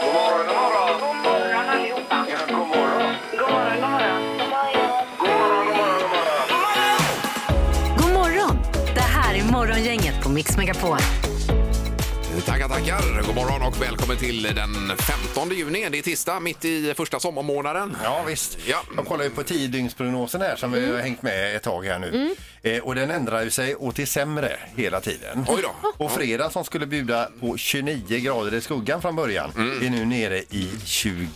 God morgon, god morgon. God morgon allihopa. Ja, god morgon. God morgon, god morgon. God morgon, god morgon, God god morgon. morgon! Det här är Morgongänget på Mix Megapol. Tackar, tackar. God morgon och välkommen till den 15 juni. Det är tisdag, mitt i första sommarmånaden. Ja visst. Ja. Mm. Jag kollar ju på tiodygnsprognosen här som vi har hängt med ett tag här nu. Eh, och den ändrar ju sig åt det sämre hela tiden. Oj då. Och fredag som skulle bjuda på 29 grader i skuggan från början Mm. är nu nere i 21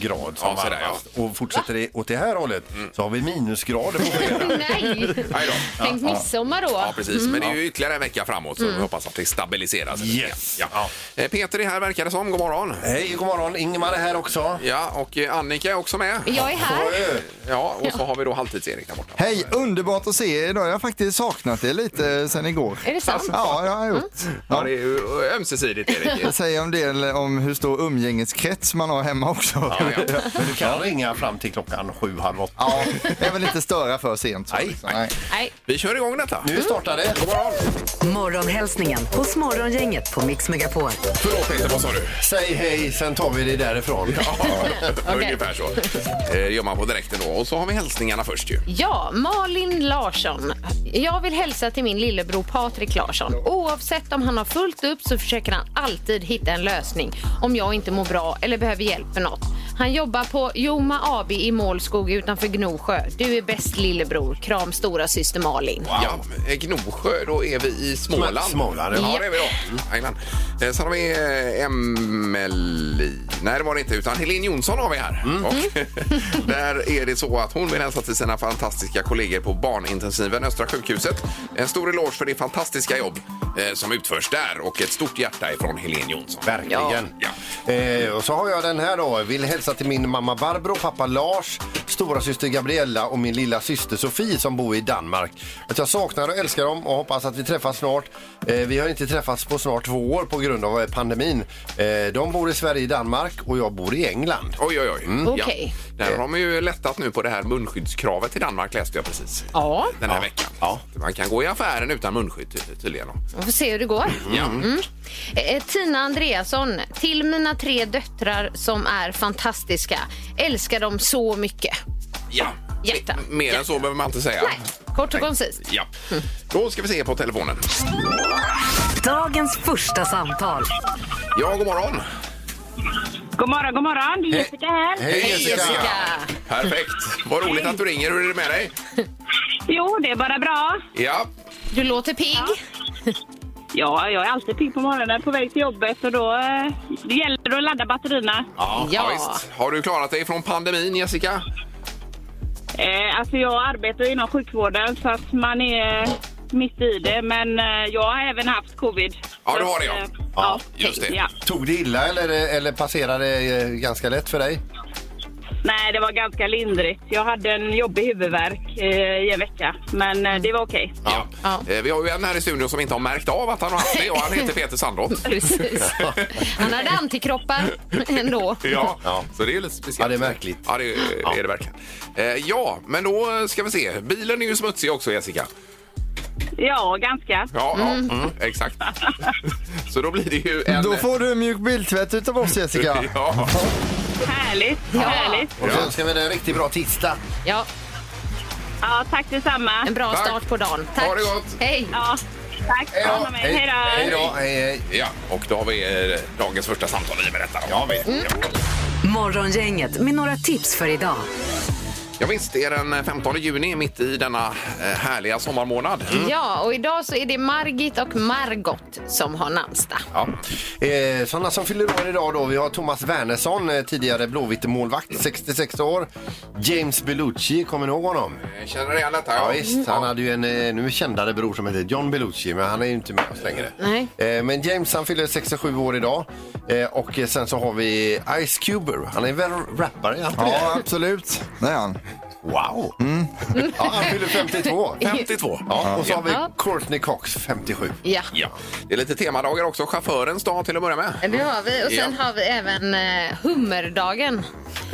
grad som Ja, Mm. så där, varmast. Och fortsätter det åt det här hållet så har vi minusgrader på fredag. Nej, Aj då. tänk midsommar då. Mm. Ja, precis. Men det är ju ytterligare en vecka framåt så vi hoppas att det stabiliseras. lite Yes. grann. Ja. Eh, Peter är här verkar det som. God morgon. Hej, god morgon. Ingemar är här också. Ja, och eh, Annika är också med. Jag är här. Ja, och så har vi då Halvtids-Erik där borta. Hej, underbart att se er idag. Jag har faktiskt saknat er lite sen igår. Är det sant? Alltså. Mm. Ja, jag har gjort. Ja, Ja. det är ju eh, ömsesidigt, Erik. Det säger en del om hur stor umgängeskrets man har hemma också. Ja, ja. Men du kan ringa fram till klockan sju, halv åtta. Ja, jag vill inte störa för sent. så Nej, liksom. nej. Nej, Vi kör igång detta. Nu startar det. Mm. God morgon. Morgonhälsningen hos Morgongänget på Mix Megapol. Förlåt Peter, vad sa du? Säg hej, sen tar vi det därifrån. Ungefär så. Eh, Det gör man på direkten då. Och så har vi hälsningarna först ju. Ja, Malin Larsson. Jag vill hälsa till min lillebror Patrik Larsson. Oavsett om han har fullt upp så försöker han alltid hitta en lösning om jag inte mår bra eller behöver hjälp med något. Han jobbar på Joma AB i Målskog utanför Gnosjö. Du är bäst lillebror. Kram stora syster Malin. Ja, eh, Gnosjö, då är vi i Småland. Småland, ja. ja. det är vi då. Jajamän. Eh, Sen har vi eh, Emily... Nej, det var det inte, utan Helene Jonsson har vi här. Och där är det så att hon vill hälsa till sina fantastiska kollegor på barnintensiven Östra sjukhuset. En stor eloge för det fantastiska jobb eh, som utförs där och ett stort hjärta ifrån Helene Jonsson. Verkligen. Ja. Eh, och så har jag den här då. Vill hälsa till min mamma Barbro, pappa Lars, stora syster Gabriella och min lilla syster Sofie som bor i Danmark. Att jag saknar och älskar dem och hoppas att vi träffas snart. Eh, vi har inte träffats på snart två år på grund av eh, pandemin. Eh, de bor i Sverige, i Danmark och jag bor i England. Oj, oj, oj. Okej. Ja. Där har de ju lättat nu på det här munskyddskravet i Danmark läste jag precis. Ja, Den här veckan. Man kan gå i affären utan munskydd ty- tydligen. vi får se hur det går. Ja. Eh, Tina Andreasson, till mina tre döttrar som är fantastiska. Älskar dem så mycket. ja. Hjärta. M- Mer än så behöver man inte säga. Nej, kort och koncist. Ja. Då ska vi se på telefonen. Dagens första samtal. Ja, god morgon. God morgon, god morgon. Det är Jessica här. Hej Jessica. Perfekt. Vad roligt att du ringer. Hur är det med dig? Jo, det är bara bra. Ja. Du låter pigg. Ja, jag är alltid pigg på morgonen på väg till jobbet och då eh, det gäller det att ladda batterierna. Ja. Ja. visst. Har du klarat dig från pandemin, Jessica? Eh, alltså jag arbetar inom sjukvården så att man är eh, mitt i det men eh, jag har även haft covid. Ja, du Så har det, att, ja. eh, Ja, just det. Ja. Tog det illa eller, eh, eller passerade det eh, ganska lätt för dig? Nej, det var ganska lindrigt. Jag hade en jobbig huvudvärk eh, i en vecka men eh, det var okej. Ja. Ja. Eh, Vi har ju en här i studion som inte har märkt av att han har haft det och han heter Peter Sandholt. Precis. Han hade antikroppar ändå. Ja. Ja. så det är lite speciellt. Ja, det är märkligt. Ja, det är, är det verkligen. Eh, ja, men då ska vi se. Bilen är ju smutsig också, Jessica. Ja, ganska. Ja, ja exakt. så då blir det ju en... Då får du en mjuk biltvätt utav oss Jessica. Ja, Härligt, härligt. Och så önskar vi dig en riktigt bra tisdag. Ja, Ja, tack detsamma. en bra Tack. start på dagen. Tack. Ha det gott. Hej. Ja, tack. Hej Ta hand om er. Hej då. Hej då! Hej, hej. ja, och då har vi eh, dagens första samtal i med detta. Då. Ja, vi. Morgongänget med några tips för idag. ja, visst, det är den 15 juni, mitt i denna eh, härliga sommarmånad. Mm. Ja, och idag så är det Margit och Margot som har namnsdag. Ja. Eh, sådana som fyller år idag då, vi har Thomas Wernersson, eh, tidigare Blåvitt-målvakt, 66 år. James Belucci, kommer ni ihåg honom? Eh, Känner du igen detta? Ja, visst, han hade ju en eh, nu kändare bror som heter John Belucci, men han är ju inte med oss längre. Nej. Eh, men James han fyller 67 år idag. Eh, och eh, sen så har vi Ice Cube, han är väl rappare? är han inte Ja, det? absolut. Det är han. Wow! Ja, han fyller 52. 52. Mm. Ja, och så har vi Ja. Courtney Cox, 57. Ja. Ja. Det är lite temadagar också. Mm. Chaufförens dag till att börja med. Det har vi. Och sen Ja. har vi även eh, hummerdagen.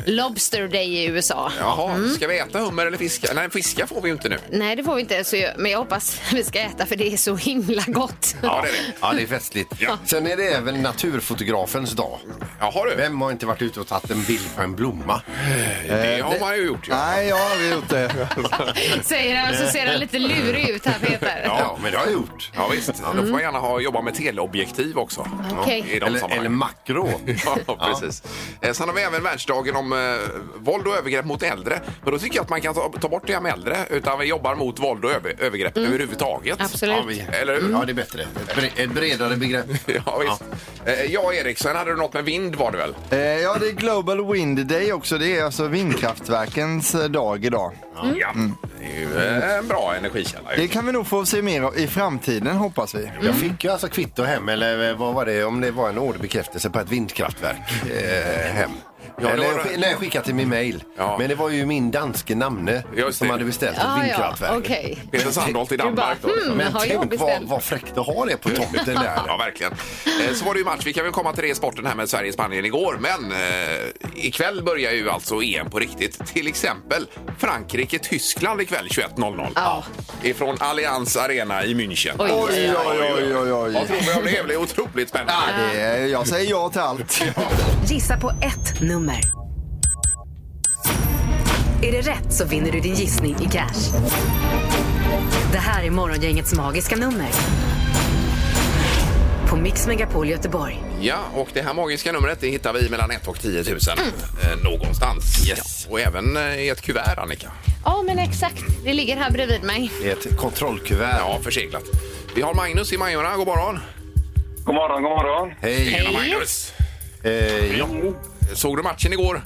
Lobster Day i USA. Jaha, Mm. ska vi äta hummer eller fiska? Nej, fiska får vi ju inte nu. Nej, det får vi inte ens göra, men jag hoppas vi ska äta för det är så himla gott. Ja, det är det. Ja, det är festligt. Sen är det även naturfotografens dag. Jaha du, Eh, Vem har inte varit ute och tagit en bild på en blomma? Eh, det har man ju gjort. Ja. Nej, jag har aldrig gjort det. Säger han så ser han lite lurig ut här Peter. Ja, men det har jag gjort. Mm. Ja visst, då får man gärna ha, jobba med teleobjektiv också. Okej. I de Eller, eller sammanhangen. makro. Ja, precis. Eh, Sen har vi även världsdagen om eh, våld och övergrepp mot äldre. Men då tycker jag att man kan ta, ta bort det här med äldre, utan vi jobbar mot våld och över, övergrepp överhuvudtaget. Absolut. vi- Eller hur? Ja, det är bättre. Ett bre- Ett bredare begrepp. Ja, visst. Eh, Ja, Erik, sen hade du något med vind var det väl? Eh, Ja, det är Global Wind Day också. Det är alltså vindkraftverkens eh, dag idag. Ja. Det är ju eh, en bra energikälla. Det ju. kan vi nog få se mer av i framtiden hoppas vi. Jag fick ju alltså kvitto hem, eller eh, vad var det, om det var en orderbekräftelse på ett vindkraftverk eh, hem. det eller var jag, det. sk- nej, jag skickade till min mail. Ja. Men det var ju min danske namne Just som det. hade beställt ett Ah, Ja, ja, vindkraftverk. okej. Peter Sandholt i Du bara, Danmark. Då, liksom. hmm, Men har jag tänk vad, beställt? vad fräckt att ha det på tomten Ja, där. verkligen. Eh, Så var det ju match. Vi kan väl komma till det i sporten här med Sverige-Spanien igår. Men eh, ikväll börjar ju alltså EM på riktigt. Till exempel Frankrike-Tyskland ikväll 21.00. Ja. Ifrån Allianz Arena i München. Oj, oj, oj, oj, oj. Vad tror vi om det? Det blir otroligt spännande. Det är, Eh, jag säger ja till allt. Gissa på ett nummer. Är det rätt så vinner du din gissning i cash. Det här är Morgongängets magiska nummer. På Mix Megapol Göteborg. Ja, och det här magiska numret det hittar vi mellan 1 och 10 000 eh, någonstans. Yes. Och även eh, i ett kuvert, Annika. Ja, men exakt. Det ligger här bredvid mig. Det är ett kontrollkuvert. Ja, förseglat. Vi har Magnus i Majorna. God morgon! God morgon, god morgon. Hej. Tjena, Magnus! Eh, ja. Såg du matchen igår?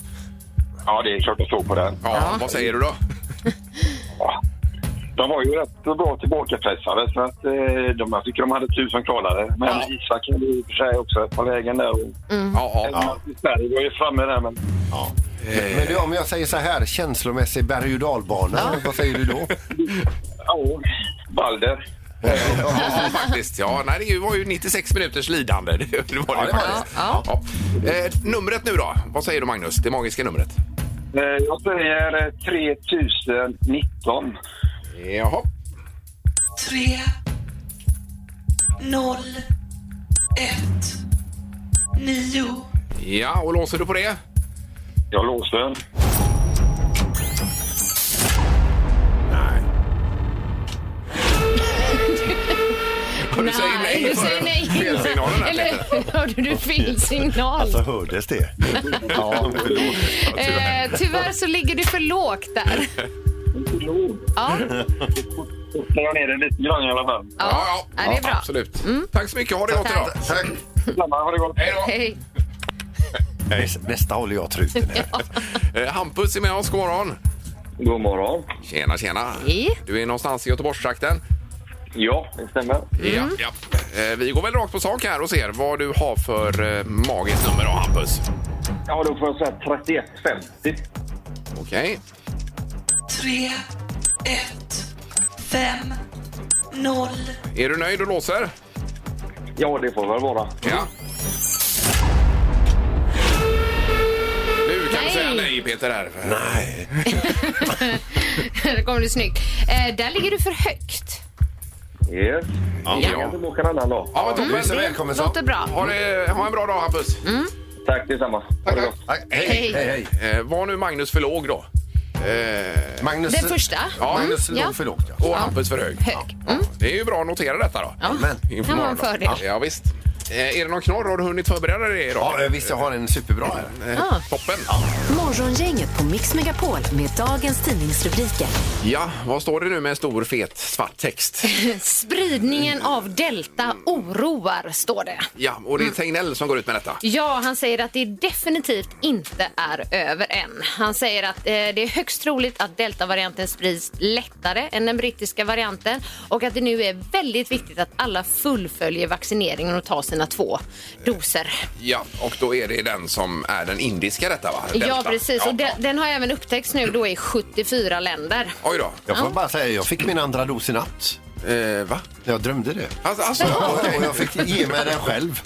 Ja, det är klart jag såg på den. Ja, vad säger du då? Ja. De var ju rätt bra tillbakapressade, så att, eh, de, jag tycker de hade tur som klarade. Men Ja. Isak hade ju i och för sig också ett par lägen där. Och, Mm. Ja, ja. ja. Sverige var ju framme där, men Men du, om jag säger så här, känslomässig berg och dalbana, vad säger du då? ja, Balder. Ja, faktiskt. Ja, nej, det var ju 96 minuters lidande. Det var det, det var faktiskt. det. Ja. Ja. Eh, numret nu då? Vad säger du Magnus? Det magiska numret? Eh, jag säger eh, 3019. Jaha. tre, noll, ett, nio. Ja, och låser du på det? Jag låser. Du säger nej. du säger nej. Felsignalen där. Eller hörde du fel signal? Så Alltså, hördes det. Ja. eh, tyvärr så ligger du för lågt där. Ja, Då tar jag ner den lite grann i alla fall. ja, ja, det är bra. Mm. Absolut. Tack så mycket. Ha det gott idag. Tack. Detsamma, ha det gott. Hej då. Hej. Nästa håller jag truten. Eh, Hampus är med oss. God morgon. God morgon. Tjena, tjena. Hej. Du är någonstans i Göteborgstrakten. Ja, det stämmer. Mm. Ja, ja. Eh, Vi går väl rakt på sak här och ser vad du har för eh, magiskt nummer då, Hampus. Ja, då får jag säga 3150. Okej. Tre, ett, fem, noll. Är du nöjd och låser? Ja, det får väl vara. Ja. Nu kan du Nej. säga nej, Peter. Här. Nej. Där kommer du snyggt. Eh, där ligger du för högt. Yes. Ja. Jag kan tillbaka en annan dag. Ja, men Du är toppen. så välkommen så. Låter Mm. bra. Mm. Ha, det, ha en bra dag, Hampus. Tack detsamma. Ha det gott. Tack. Hej. Hej. Hej. Eh, var nu Magnus för låg då. Eh, Magnus, Den första? Ja, Magnus Mm, låg ja. för lågt. Ja. och Hampus för hög. Hög. Mm. Det är ju bra att notera detta då. Ja. Men- Inför Kan vara en morgondagen. fördel. Ja, visst. Eh, är det någon knorr? Har du hunnit förbereda dig idag? Ja, eh, visst, jag har en superbra här. Eh, Ah. Toppen. Morgongänget på Mix Megapol med dagens tidningsrubriker. Ja, vad står det nu med stor fet svart text? Mm. Spridningen av delta oroar, står det. Ja, och det är Tegnell som går ut med detta. Ja, han säger att det definitivt inte är över än. Han säger att eh, det är högst troligt att deltavarianten sprids lättare än den brittiska varianten och att det nu är väldigt viktigt att alla fullföljer vaccineringen och tar sina två doser. Ja, och då är det den som är den indiska detta, va? Ja, Delta. precis. Ja. Och den, den har även upptäckts nu då i 74 länder. Oj då. Jag får bara säga, jag fick min andra dos i natt. Eh, va? Jag drömde det. Alltså, alltså Och jag fick ge mig den själv.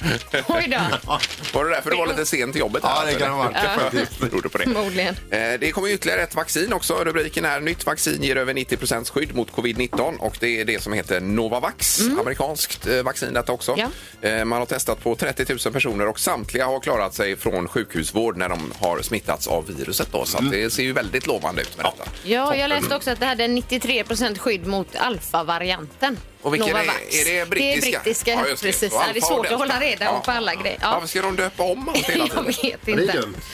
Oj då. var det därför du var lite sen till jobbet? här, alltså. Ja, det kan det ha varit, eller? Det berodde på det. Förmodligen. Eh, Det kommer ytterligare ett vaccin också. Rubriken är nytt vaccin ger över 90 skydd mot covid-19 och det är det som heter Novavax. Amerikanskt eh, vaccin detta också. Mm. Ja. Eh, Man har testat på 30 000 personer och samtliga har klarat sig från sjukhusvård när de har smittats av viruset. Då. Så att Mm. det ser ju väldigt lovande ut med detta. Ja, jag läste också att det hade 93 skydd mot alfa-varianten. Och vilken är, Novavax. är det brittiska? Det är brittiska, Ja, just precis. Ja, Och det är Alfa och svårt att Delta. hålla reda Ja. på alla grejer. Ja. Ja. Varför ska de döpa om allt hela Jag tiden? vet Det är inte. dumt.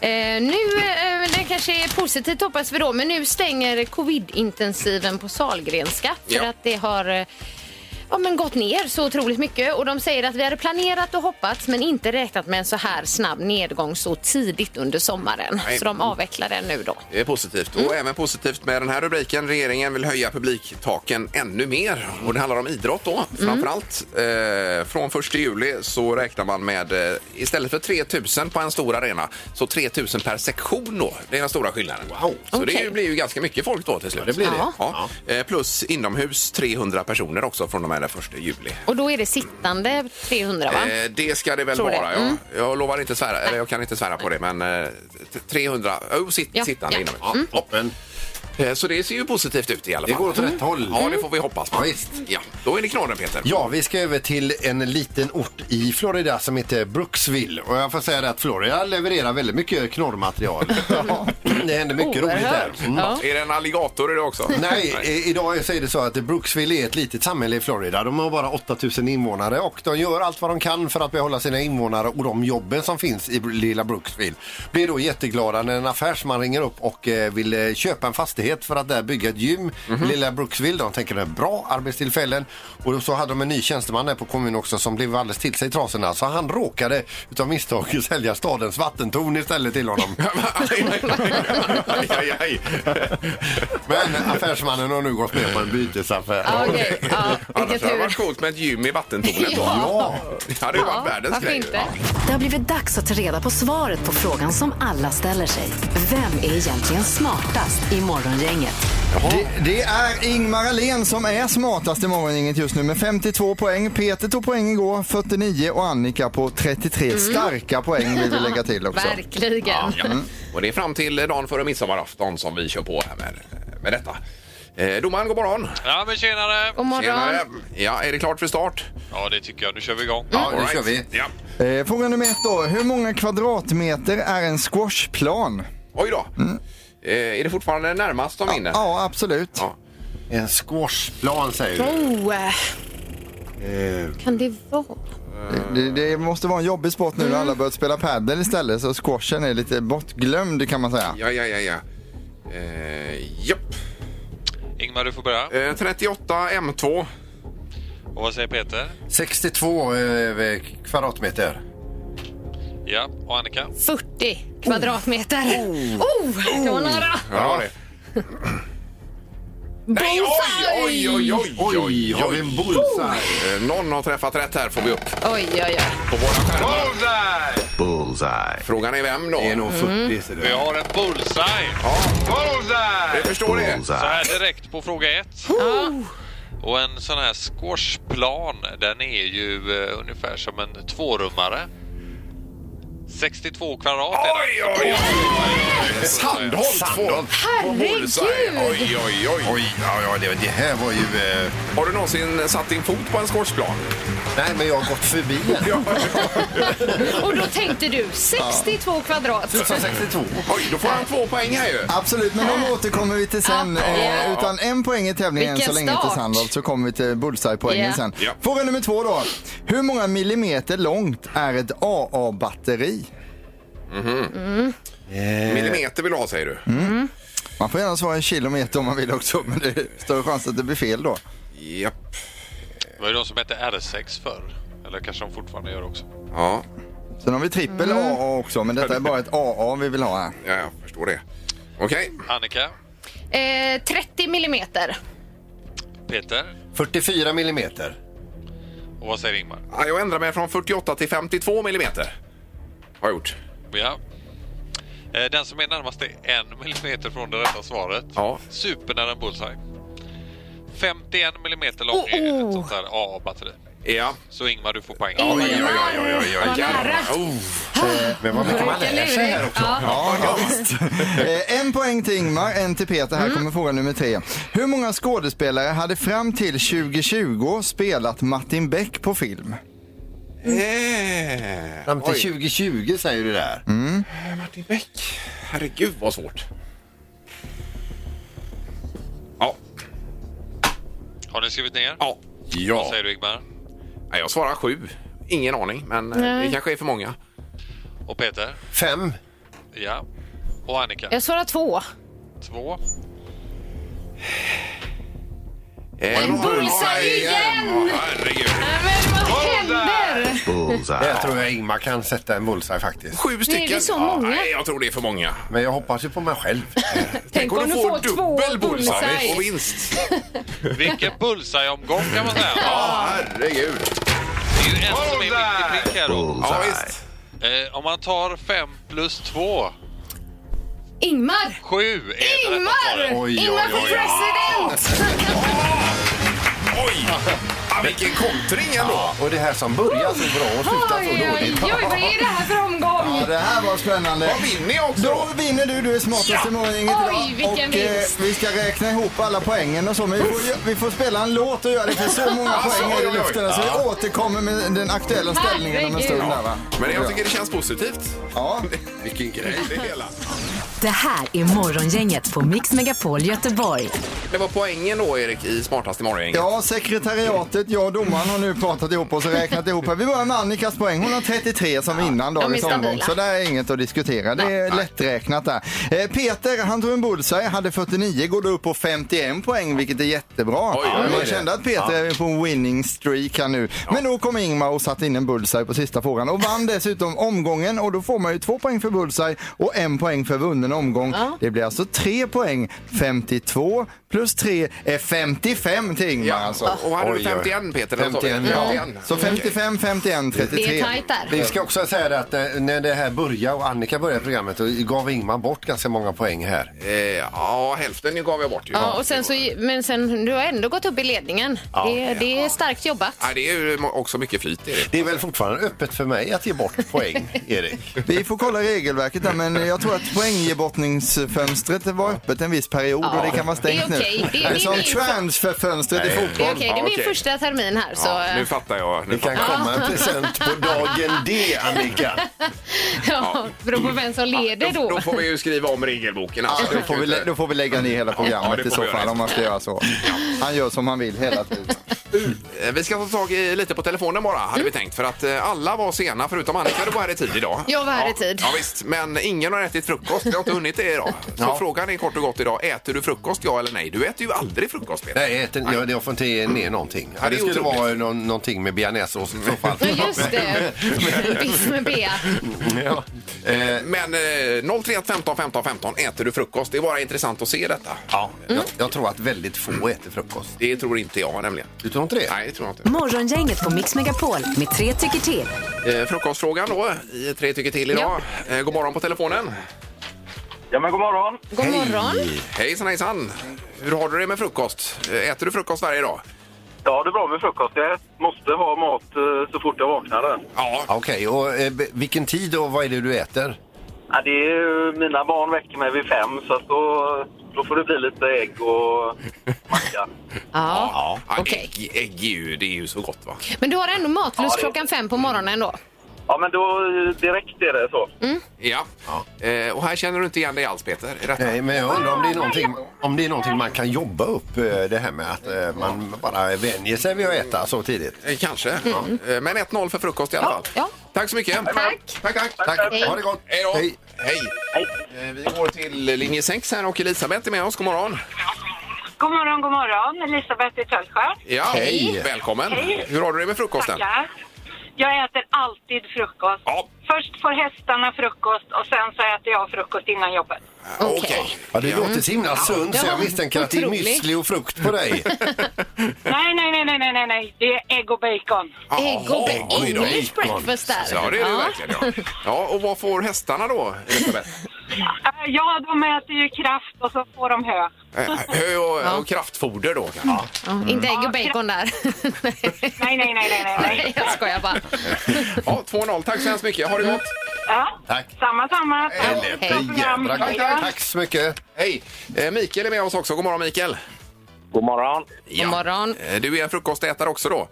Eh, nu, eh, det kanske är positivt hoppas vi då, men nu stänger covid-intensiven på Sahlgrenska för Ja. att det har eh, ja, men gått ner så otroligt mycket. Och de säger att vi hade planerat och hoppats men inte räknat med en så här snabb nedgång så tidigt under sommaren. Nej. Så de avvecklar den nu då. Det är positivt. Mm. Och även positivt med den här rubriken. Regeringen vill höja publiktaken ännu mer. Och det handlar om idrott då, Mm. framförallt. Eh, från 1 juli så räknar man med, eh, istället för 3 000 på en stor arena, så 3 000 per sektion då. Det är den stora skillnaden. Wow. Så det är ju- Okej. blir ju ganska mycket folk då till slut. det blir det. Ja. Ja. Eh, Plus inomhus 300 personer också från och med den 1 juli. Och då är det sittande 300 va? Eh, det ska det väl Tror det. Mm. vara. Ja. Jag lovar inte svära, eller jag kan inte svära på det, men eh, t- 300 oh, sitt, Ja, sittande ja. inomhus. Ja, toppen. Eh, Så det ser ju positivt ut i alla Det fall. Mm. går åt rätt håll. Ja, det får vi hoppas på. Ja, visst. Ja, då är det knorren, Peter. Ja, vi ska över till en liten ort i Florida som heter Brooksville. Och jag får säga det att Florida levererar väldigt mycket knorrmaterial. Det händer mycket roligt där. Oerhört. Mm. Ja. Är det en alligator i det också? Nej, i- idag säger det så att Brooksville är ett litet samhälle i Florida. De har bara 8000 invånare och de gör allt vad de kan för att behålla sina invånare och de jobben som finns i lilla Brooksville. Blir då jätteglada när en affärsman ringer upp och eh, vill eh, köpa en fastighet för att där bygga ett gym i lilla Brooksville. De tänker det är bra arbetstillfällen och så hade de en ny tjänsteman där på kommunen också som blev alldeles till sig i trasorna så han råkade utav misstag sälja stadens vattentorn istället till honom. aj, aj, aj, aj. Men affärsmannen har nu gått med på en bytesaffär. Ja, Okej, ja, vilken Annars hade det varit tur. coolt med ett gym i vattentornet. då. Ja. Det hade ju varit världens varför grej. inte? Ja. Det har blivit dags att ta reda på svaret på frågan som alla ställer sig. Vem är egentligen smartast i Morgongänget? Det, det är Ingmar Ahlén som är smartast i morgongänget just nu med 52 poäng. Peter tog poäng igår, 49 och Annika på 33. Starka poäng vill vi lägga till också. Verkligen. Ja. Mm. Och det är fram till dagen före midsommarafton som vi kör på här med, med detta. Eh, domaren, god morgon. Ja, men tjenare! God morgon. Tjenare. Ja, är det klart för start? Ja, det tycker jag. Nu kör vi igång. Ja, All nu kör vi. Ja. Eh, fråga nummer ett då. Hur många kvadratmeter är en squashplan? Oj då. Mm. Eh, är det fortfarande närmast som vinner? Ja, absolut. Ja. En squashplan säger du? Oh, eh, kan det vara? Det, det måste vara en jobbig sport nu när alla börjat spela padel istället så squashen är lite bortglömd kan man säga. Ja, ja, ja, ja. Eh, japp. Ingmar, du får börja. Eh, 38 M2. Och vad säger Peter? 62 eh, kvadratmeter. Ja, och Annika? 40 kvadratmeter. Oh, det var nära. Ja, det. Nej, oj, oj, oj, oj, oj, oj, har vi en bullseye? Eh, Någon har träffat rätt här får vi upp Oj, oj, oj. på våra skärmar. Bullseye! Mm. Bullseye. Frågan är vem då? Det är nog 40 ser Vi du. har en bullseye! Ja, Bullseye! jag förstår det. Så Bullseye. här direkt på fråga ett. Och en sån här squashplan, den är ju eh, ungefär som en tvårummare. 62 kvadrat är den. Oj, oj, oj! Sandholt får på bullseye. Oj, oj, oj. Oj, ja, ja, det, det här var ju... Eh... Har du någonsin satt din fot på en squashplan? Nej, men jag har gått förbi den. Ja. Och då tänkte du 62 kvadrat. 62. Oj, då får han två poäng här ju. Absolut, men de återkommer vi till sen. Äh. Ja. Eh, utan en poäng i tävlingen än Vilken så länge till start. Sandholt så kommer vi till bullseye-poängen Ja. sen. Ja. Fråga nummer två då. Hur många millimeter långt är ett AA-batteri? Millimeter vill du ha säger du. Man får gärna svara i kilometer om man vill också men det är större chans att det blir fel då. Japp. Det var ju de som hette R6 förr. Eller kanske de fortfarande gör också. Ja, Sen har vi trippel Mm. AA också men detta är bara ett AA vi vill ha här. ja, jag förstår det. Okej. Annika? Eh, 30 millimeter. Peter? 44 millimeter. Och vad säger Ingmar? Ja, jag ändrar mig från 48 till 52 millimeter. Har jag gjort. Ja. Eh, Den som är närmast är en millimeter från det rätta svaret. Ja. Supernära en bullseye. 51 mm lång är ett sånt här AA-batteri. Oh, Ja. Så Ingmar, du får poäng. Oj, oj, oj, oj, oj, oj. Vad nära. Oh. Men vad mycket man lär sig här också. Ja. Ja, visst. Eh, en poäng till Ingmar, en till Peter. Här Mm. kommer fråga nummer tre. Hur många skådespelare hade fram till 2020 spelat Martin Beck på film? Eh, Fram till oj. 2020 säger du där. Martin Beck. Herregud vad svårt. Ja, Har ni skrivit ner? ja, Vad ja. säger du Ingmar? Nej, jag svarar sju. Ingen aning, men eh, det kanske är för många. Och Peter? Fem. Ja. Och Annika? Jag svarar två. Två. Eh, En bullseye igen! Ja, herregud. Men vad händer? Där tror jag Ingmar kan sätta en bullseye faktiskt. Sju stycken. det så Ja, många? nej, jag tror det är för många. Men jag hoppas ju på mig själv. Tänk om du får två och bullseye. vinst. Vilken bullseye-omgång kan man säga. Ja, herregud. Det är ju en som är mitt i prick här då. Ja, visst. Eh, om man tar fem plus två. Ingmar! Sju är det rätta Ingmar! svaret. Oj, Ingmar oj, för oj. president! Oj! Ja, vilken kontring ändå. Ja, och det här som börjar så bra och slutar Oj, så oj, dåligt. oj, vad är det här för Ja, omgång? det här var spännande. Vad vinner jag också? Då vinner du, du är smartast i morgongänget Oj, idag. vilken och eh, vinst. vi ska räkna ihop alla poängen och så. Men vi får, vi får spela en låt och göra det för så många poäng är det i luften. Så vi återkommer med den aktuella ställningen om en stund. Där, va? Men jag tycker det känns positivt. Ja. Vilken grej det hela. Det här är Morgongänget på Mix Megapol Göteborg. Det var poängen då, Erik, i Smartast i morgon. Ja, sekretariatet, jag och domaren har nu pratat ihop oss och räknat ihop. här. Vi börjar med Annikas poäng. Hon har 33 som innan dagens stabila. omgång. Så där är inget att diskutera. Det är lätträknat där. Eh, Peter, han tog en bullseye, hade 49, går då upp på 51 poäng, vilket är jättebra. Oj, oj, Man oj. kände att Peter är på en winning streak här nu. Men då kom Ingmar och satte in en bullseye på sista frågan och vann dessutom omgången. Och då får man ju två poäng för bullseye och en poäng för vunnen omgång. Det blir alltså tre poäng. 52 plus 3 är 55 till Ingmar. Ja, alltså. Och hade Oj, du oj. 51, Peter? eller vad sa vi? 51, ja. 51. Så 55, 51, 33. Det är tajt där. Vi ska också säga det att när när det här började och Annika började programmet då gav Ingmar bort ganska många poäng här. Eh, Ja, hälften gav jag bort ju. Ja, och sen så, men sen, du har ändå gått upp i ledningen. det, det är starkt jobbat. Nej, det är ju också mycket flyt, Erik. Det är väl fortfarande öppet för mig att ge bort poäng, Erik? Vi får kolla regelverket där, men jag tror att poänggebottningsfönstret var öppet en viss period och det kan vara Det är stängt nu. okej. Det- Det det är är som min- transferfönstret i Det fotboll. är okej, det är min Okej. första termin här. Så, Ja, ja, nu fattar jag. Nu Det kan fattar jag. komma en present på dagen D, Annika. beror på vem som leder Då, då. då får vi ju skriva om regelboken. Alltså. Då får, vi, lä- då får vi lägga ner hela Ja, programmet det i får så vi göra. fall om man ska göra så. Han gör som han vill hela tiden. Eh, Vi ska ta tag i lite på telefonen bara, hade Mm. vi tänkt. För att eh, alla var sena, förutom Annika, du var här i tid idag. Jag var här ja, i tid. Ja, visst. Men ingen har ätit frukost, vi har inte hunnit det idag. Så frågan är kort och gott idag, äter du frukost, ja eller nej? Du äter ju aldrig frukost, Peter. Nej, jag äter- jag, jag får inte ge ner någonting. Ja, Ja, det det är skulle otroligt. vara någon, någonting med bearnaisesås i så fall. Ja, just det. Biff med bea. Ja. Eh, Men eh, 031 15 15 15 äter du frukost? Det är bara intressant att se detta. ja, jag, jag tror att väldigt få äter frukost. Det tror inte jag nämligen. Du tror inte det? Nej, det tror jag inte. Morgongänget på Mix Megapol med tre tycker till. Eh, frukostfrågan då, i tre tycker till idag. Eh, god morgon på telefonen. Ja, men god morgon. God morgon. Hejsan hejsan! Hur har du det med frukost? Eh, Äter du frukost varje dag? Ja, det är bra med frukost. Jag måste ha mat eh, så fort jag vaknar. Ja. Ja, Okej, och eh, be- vilken tid och vad är det du äter? Ja, det är, ju- mina barn väcker mig vid fem, så att då, då får det bli lite ägg och macka. Ja. Ja, okej. ägg, ägg är ju, det är ju så gott va? Men du har ändå matlust Ja, det- klockan fem på morgonen då? Ja, men då eh, direkt är det så. Ja. Eh, och här känner du inte igen dig alls Peter? i Detta. Nej, men jag undrar om det är någonting, om det är någonting man kan jobba upp, eh, det här med att eh, man bara vänjer sig vid att äta så tidigt. Eh, Kanske. Ja. Eh, Men 1-0 för frukost i alla fall. Mm. ja. Tack så mycket. Tack. Tack, tack. Tack, Hej. ha det gott! Hej då. Hej. Hej. Eh, Vi går till linje 6 här och Elisabeth är med oss. God morgon. God morgon, god morgon. Elisabeth i Töllsjö. Ja, Hej. Välkommen. Hej. Hur har du det med frukosten? Tackar. Jag äter alltid frukost. Ja. Först får hästarna frukost och sen så äter jag frukost innan jobbet. Eh, Okej. Okej. Ja, du låter så himla sund så jag var misstänker att det är otroligt. müsli och frukt på dig. Nej, nej, nej, nej, nej, nej, nej. Det är ägg och bacon. Jaha, Ägg och oj bea. då. English breakfast där. Ja, det är det verkligen. Ja. ja, och vad får hästarna då, Elisabeth? Äh, Ja, de äter ju kraft och så får de hö. Eh, Hö och, och kraftfoder då kanske? Ja, Inte ägg och bacon där. Nej, nej, nej, nej, nej. nej. Nej, jag skojar bara. Ja, 2-0. Tack så hemskt mycket. Ha det gott! Ja, Tack. samma, samma. Det Hej. är jävla gott. Ja. Tack så mycket. Hej! Eh, Mikael är med oss också. God morgon Mikael! God morgon. Ja. God morgon. Eh, Du är en frukostätare också då?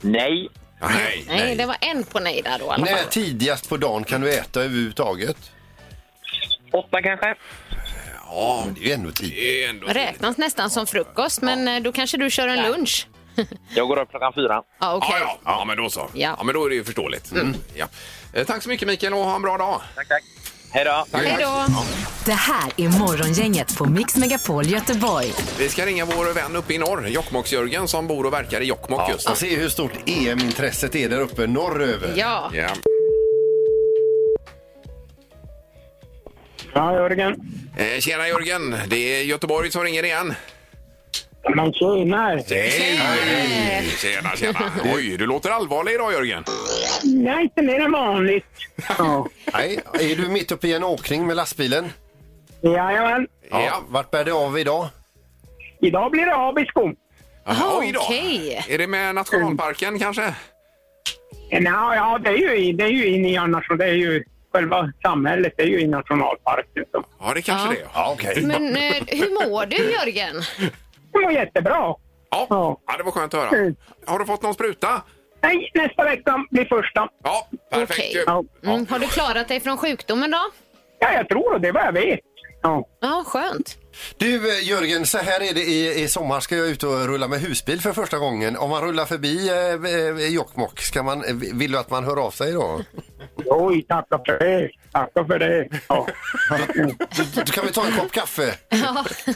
Nej. Nej, Nej, det var en på nej där då i alla fall. När tidigast på dagen kan du äta överhuvudtaget? Åtta kanske? Ja, Det är ju ändå tid. det är ändå... Räknas nästan som frukost, men eh, då kanske du kör en lunch. Jag går upp klockan fyra. Ja, okej. Ja, ja. ja, men då så. Ja. Ja. Mm. men då är det ju förståeligt. Mm. Ja. Eh, Tack så mycket Mikael och ha en bra dag. Tack, tack. Hej då. Hej då. Det här är Morgongänget på Mix Megapol Göteborg. Vi ska ringa vår vän uppe i norr, Jokkmokks-Jörgen som bor och verkar i Jokkmokk just nu. Och se hur stort EM-intresset är där uppe norröver. Ja, Ja. Ja, Jörgen. Eh, Tjena Jörgen, det är Göteborg som ringer igen. Men tjena! Hej! Tjena, tjena. Oj, du låter allvarlig idag Jörgen. Nej, inte mer än vanligt. Ja. Nej, är du mitt uppe i en åkning med lastbilen? Jajamän. Ja. Vart bär det av idag? Idag blir det abisko. Jaha, oj då. okej. Är det med nationalparken kanske? Ja, ja det, är ju, det är ju in i annars, det är ju själva samhället, det är ju i nationalparken. så. Ja, det kanske Ja. det är. Ja, okej. men eh, hur mår du Jörgen? Det var jättebra. Ja. ja, det var skönt att höra. Mm. Har du fått någon spruta? Nej, nästa vecka blir första. Ja, perfekt Okej. ju. Ja. Mm, har du klarat dig från sjukdomen då? Ja, jag tror det. Det är vad jag vet. Ja. Ja, skönt. Du eh, Jörgen, så här är det i, i sommar ska jag ut och rulla med husbil för första gången. Om man rullar förbi eh, eh, Jokkmokk, ska man, eh, vill du att man hör av sig då? Oj, tacka för det. Tacka för det. Ja, Då kan vi ta en kopp kaffe.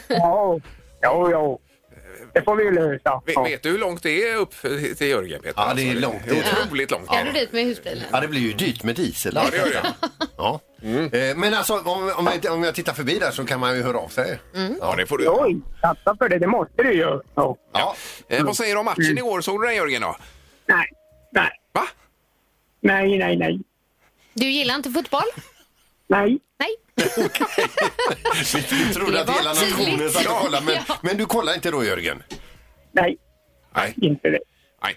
ja, ja. ja. Det får vi lösa. Ve- Ja. Vet du hur långt det är upp till Jörgen? Peter? Ja, det är Alltså, långt. Det är otroligt långt. Ska du dit med husbilen? Ja, det blir ju dyrt med diesel. Ja, det gör det. Ja. Eh, Men alltså, om, om, jag, om jag tittar förbi där så kan man ju höra av sig. Ja, det får du. Oj, tacka för det. Det måste du göra. Ja. Ja. Eh, vad säger du om matchen igår? Såg du den Jörgen? Då? Nej, nej, Va? nej, nej, nej. Du gillar inte fotboll? nej. Nej. Vi, vi trodde Det att var hela nationen tydligt. satt och kollade, men, Ja. men du kollar inte då Jörgen? Nej, Nej. inte det. Mm. Nej.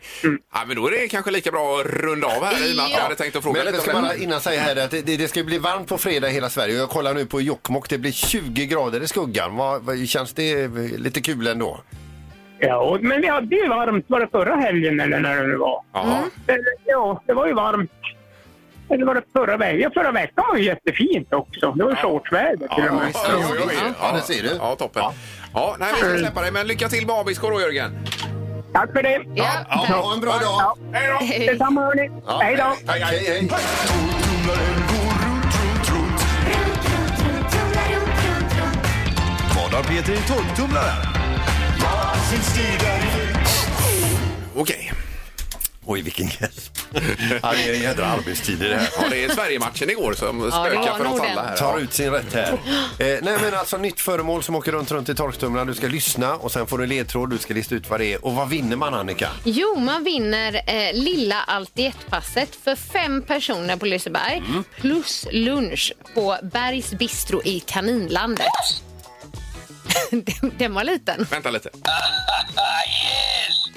Ja, men då är det kanske lika bra att runda av här i och med att jag Ja. hade tänkt att fråga Men jag lite ska om bara det. innan säga här att det, det ska bli varmt på fredag i hela Sverige. Jag kollar nu på Jokkmokk, det blir 20 grader i skuggan. Vad, vad, känns det lite kul ändå? Ja, men vi hade ju varmt. Var det förra helgen eller när det nu var? Ja. Eller, Ja, det var ju varmt. Eller var det förra veckan? Ja, förra veckan var ju jättefint också. Det var ju shortsväder till och med. Ja, jo, jo, jo. Ja, det ser du. Ja, toppen. Ja. nej, vi ska släppa dig, men lycka till med Abisko då, Jörgen. Tack för det. Ja. Ja, ha en bra dag! Hej då! Hej. Detsamma hörni. Hej då. Tack, hej, hej! Vad har Peter i tolvtumlaren? Okej. Oj, vilken gäsp. Ja, det är en jädra arbetstid i det här. Ja, det är Sverigematchen igår som spökar var för oss nog alla den. här. Tar ut sin rätt här. Eh, nej men alltså nytt föremål som åker runt runt i torktumlaren. Du ska lyssna och sen får du en ledtråd. Du ska lista ut vad det är. Och vad vinner man Annika? Jo, man vinner eh, lilla Allt-i-ett-passet för fem personer på Liseberg Mm. plus lunch på Bergs Bistro i Kaninlandet. Den- Den var liten. Vänta lite.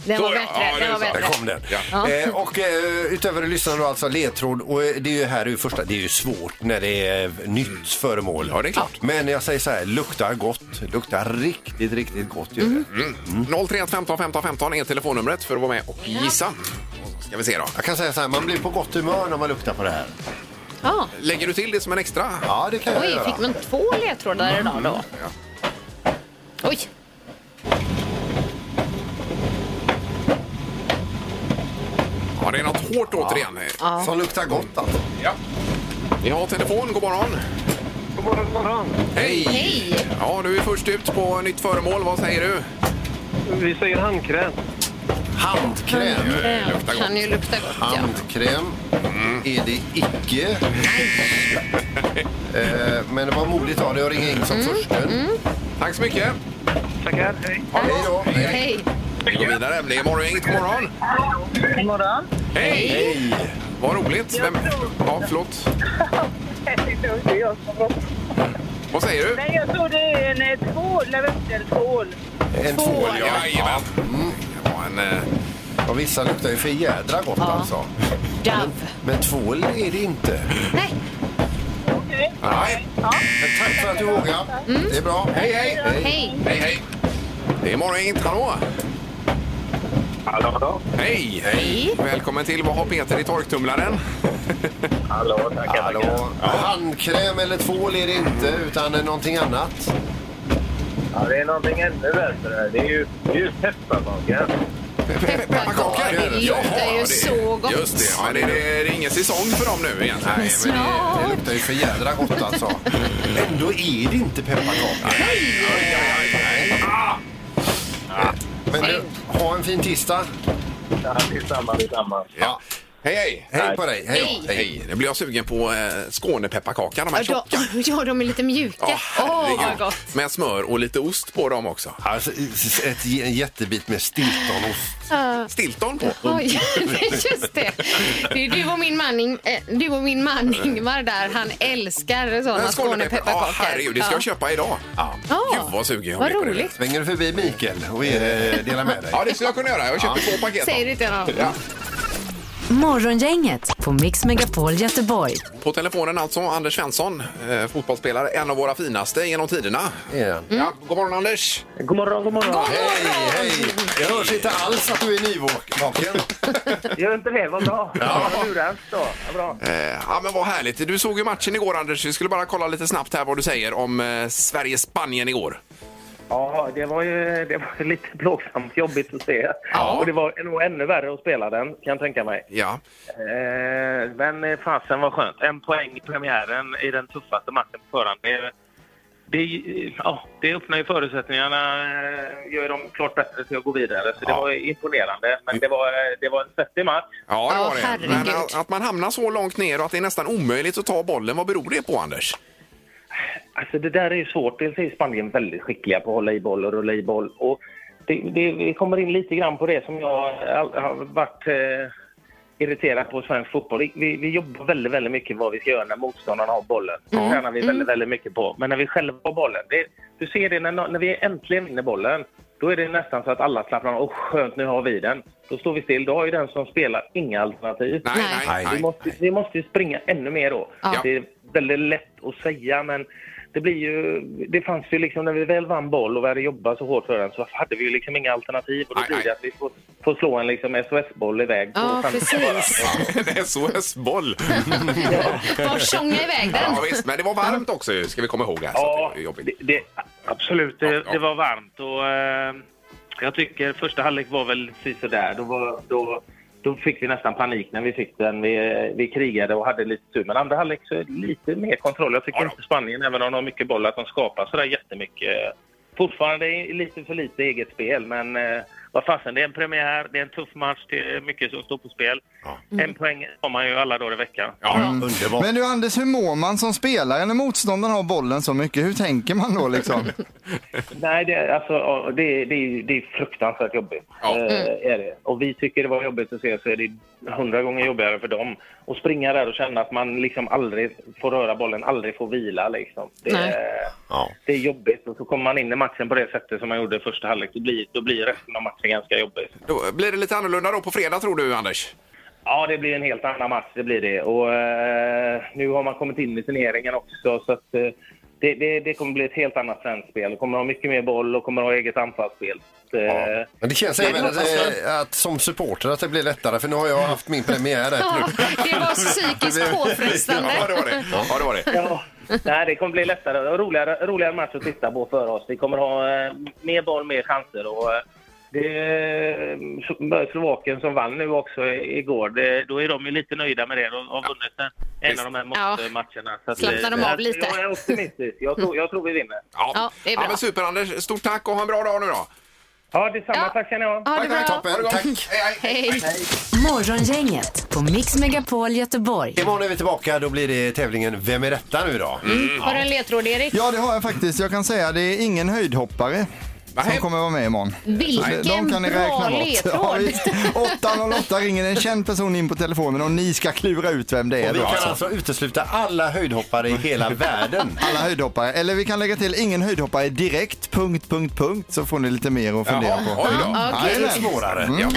Den var Så, ja. bättre. Ja, det den var är så. Där bättre. kom den. Ja. Eh, och eh, utöver att lyssna då alltså ledtråd. Och eh, det är ju här det är ju första. Det är ju svårt när det är eh, nytt föremål. Mm. Ja, det är klart. Men jag säger så här. Luktar gott. Luktar riktigt, riktigt gott. gör Mm. det. Mm. 031 15 15 15 är telefonnumret för att vara med och gissa. Och så Ska vi se då. Jag kan säga så här. Man blir på gott humör när man luktar på det här. Ja. Lägger du till det som en extra? Ja, det kan jag Oj, göra. fick man två ledtrådar idag Mm, då? Oj! Ja, det är något hårt återigen. Som luktar gott alltså. Ja. Vi har telefon. God morgon. God morgon, god morgon. Hej! Hej! Ja, du är först ut på nytt föremål. Vad säger du? Vi säger handkräm. Handkräm. Eh, Mm. luktar gott. Kan eh, ju lukta gott, ja. Handkräm Mm. är det icke. Eh, Men det var modigt av dig att ringa in som Mm. försten. Tack så mycket. Tackar. Hej. Hej då. Hej. Hej! Vi går vidare. Det är morgon. God morgon. God morgon. Hej! Vad roligt. Vem... Ja, förlåt. Vad säger du? Nej, jag tror det är en eh, tvål, Laventel tvål. En tvål, ja. Jajamän. Mm. Det var en, eh, Och vissa luktar ju för jädra gott alltså. Dove. Men tvål är det inte. Nej, Okej. Nej. Men tack för att du vågade. Det är bra. Hej, Mm. hej! hej. Hej, hej! Det är morgongänget, hallå! Hallå, hallå. Hej! Hej! Välkommen till Vad har Peter i torktumlaren? Hallå, tackar, Hallå. tackar. Handkräm eller tvål är det inte, utan någonting annat. Ja, det är någonting ännu bättre. Det är ju, det är ju pepparkakor. Pepparkakor! Det luktar ju det- så gott. Just det, men det, det är ingen säsong för dem nu egentligen. Nej, men det, det luktar ju för jädra gott alltså. Ändå är det inte pepparkakor. Aj, aj, aj, aj. Ah. Men du, ha en fin tisdag. Ja, det är samma, det är samma. Ja. Hej, hej! Hej på dig. Hej. Hej. Hej! Nu blir jag sugen på eh, Skånepepparkakan, de här Ja, tjocka. de- ja, de är lite mjuka. Ja, Åh, herregud. vad gott. Med smör och lite ost på dem också. Alltså, ett, en jättebit med stiltonost. Stilton på. Oj, just det. det är du och min man, Ing- eh, du och min man Ingmar där, han älskar sådana Men Skånepepparkakor. Ja, herregud, det ska jag köpa idag. Ja. Gud vad sugen jag Vad blir på det. roligt. Svänger du förbi Mikael och eh, delar med dig? Ja, det skulle jag kunna göra. Jag köpte två paket. då. Säger du till honom. Ja. Morgongänget på Mix Megapol Göteborg. På telefonen alltså, Anders Svensson, eh, fotbollsspelare, en av våra finaste genom tiderna. Ja. Ja, god morgon Anders! God morgon, god morgon. Hej, hej! Jag hörs inte alls att du är nyvaken. Gör inte det, vad bra. Ja. Lurans då. Ja, bra. Eh, ja men vad härligt. Du såg ju matchen igår Anders. Vi skulle bara kolla lite snabbt här vad du säger om eh, Sverige-Spanien igår. Ja, det var ju det var ju lite plågsamt jobbigt att se. Och det var nog ännu värre att spela den, kan jag tänka mig. Ja, Eh, men eh, fasen var skönt. En poäng i premiären i den tuffaste matchen på förhand. Det, det, ja, det öppnar ju förutsättningarna, eh, gör dem klart bättre till att gå vidare. Så det var imponerande. Men det var, eh, det var en svettig match. ja det Ja, var det. herregud. Men eh, att, att man hamnar så långt ner och att det är nästan omöjligt att ta bollen, vad beror det på Anders? Alltså det där är ju svårt. Dels är Spanien väldigt skickliga på att hålla i boll och rulla i boll. Och det, det, vi kommer in lite grann på det som jag all- har varit eh, irriterad på i svensk fotboll. Vi- Vi, vi jobbar väldigt, väldigt mycket vad vi ska göra när motståndarna har bollen. Det tränar vi väldigt, väldigt mycket på. Men när vi själva har bollen, det, du ser det när, nå- när vi äntligen vinner bollen, då är det nästan så att alla slappnar av. Åh, skönt, nu har vi den. Då står vi still. Då har ju den som spelar inga alternativ. Nej, Nej. nej, Nej. nej. Vi måste, vi måste ju springa ännu mer då. Ja. Det är väldigt lätt att säga, men det blir ju... Det fanns ju liksom, när vi väl vann boll och vi hade jobbat så hårt för den så hade vi ju liksom inga alternativ och då Nej, blir nej. det att vi får, får slå en liksom SOS-boll iväg. på Ja, chansen bara. precis. En SOS-boll! Bara tjonga iväg den. Ja, visst, men det var varmt också ju, ska vi komma ihåg. Här, så Ja, att det var jobbigt. det, det, absolut. Ja, Det, ja. det var varmt och eh, jag tycker första halvlek var väl precis sådär. Då, var, då, då fick vi nästan panik när vi fick den. Vi, vi krigade och hade lite tur. Men andra halvlek så är det lite mer kontroll. Jag tycker Ja då. inte Spanien, även om de har mycket boll, att de skapar sådär jättemycket. Fortfarande är lite för lite eget spel, men eh, vad fasen, det är en premiär, det är en tuff match, det är mycket som står på spel. En poäng har man ju alla dagar i veckan. Mm. Ja, Underbart. Men du Anders, hur mår man som spelare när motståndaren har bollen så mycket? Hur tänker man då liksom? Nej, det, alltså, ja, det, det, är ju- det är fruktansvärt jobbigt. Ja. Eh, är det. Och vi tycker det var jobbigt att se så är det hundra gånger jobbigare för dem. Och springa där och känna att man liksom aldrig får röra bollen, aldrig får vila. Liksom. Det, Nej. är- Ja. det är jobbigt. Och så kommer man in i matchen på det sättet som man gjorde i första halvlek. Då blir, då blir resten av matchen ganska jobbig. då blir det lite annorlunda då på fredag tror du Anders? Ja, det blir en helt annan match. Det blir det. Och, eh, nu har man kommit in i turneringen också. Så att, eh, det, det, det kommer bli ett helt annat svenskt spel. Det kommer ha mycket mer boll och kommer ha eget anfallsspel. Eh, Men det känns även att, eh, att som supporter att det blir lättare för nu har jag haft min premiär här Ja, nu. det var psykiskt Ja, det påfrestande. var det. Ja, det, var det. Ja, nej, det kommer bli lättare och roligare, roligare match att titta på för oss. Vi kommer ha eh, mer boll, mer chanser. Och, eh, det eh, Slo- Slovakien som vann nu också i- igår, det, då är de ju lite nöjda med det. De har vunnit en, en av de här måste-matcherna. Så att, eh, Slappnar de av lite? Jag är optimistisk. Jag tror, jag tror vi vinner. Ja, det är bra. men super Anders, stort tack och ha en bra dag nu då. Ja, detsamma. Ja. Tack ska ni ha. Ha det bra. Toppen, tack. Hej, hej. Hej. Morgongänget på Mix Megapol Göteborg. Imorgon är vi tillbaka, då blir det tävlingen Vem är detta nu då? Har du en ledtråd, Erik? Ja, det har jag faktiskt. Jag kan säga det är ingen höjdhoppare. Nej. som kommer vara med imorgon. Vilken Så de kan ni bra räkna bort. Ja, ledtråd! visst. 808 ringer en känd person in på telefonen och ni ska klura ut vem det är. Och vi då, kan alltså. alltså utesluta alla höjdhoppare i hela världen. Alla höjdhoppare. Eller vi kan lägga till ingen höjdhoppare direkt, punkt, punkt, punkt, så får ni lite mer att fundera Jaha, på. oj då. Ja, Det Mm. är okej. lite svårare. Ja.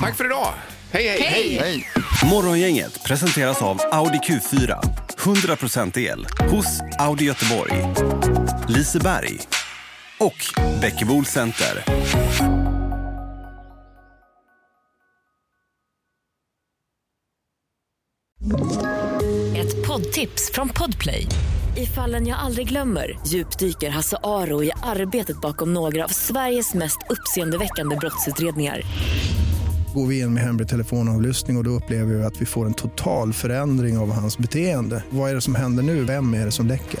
Tack för idag. hej. hej. Hej! Hej! Morgongänget presenteras av Audi Q4. 100% el hos Audi Göteborg, Liseberg och Bäckebol Center. Ett poddtips från Podplay. I fallen jag aldrig glömmer djupdyker Hasse Aro i arbetet bakom några av Sveriges mest uppseendeväckande brottsutredningar. Går vi in med hemlig telefonavlyssning och, och då upplever vi att vi får en total förändring av hans beteende. Vad är det som händer nu? Vem är det som läcker?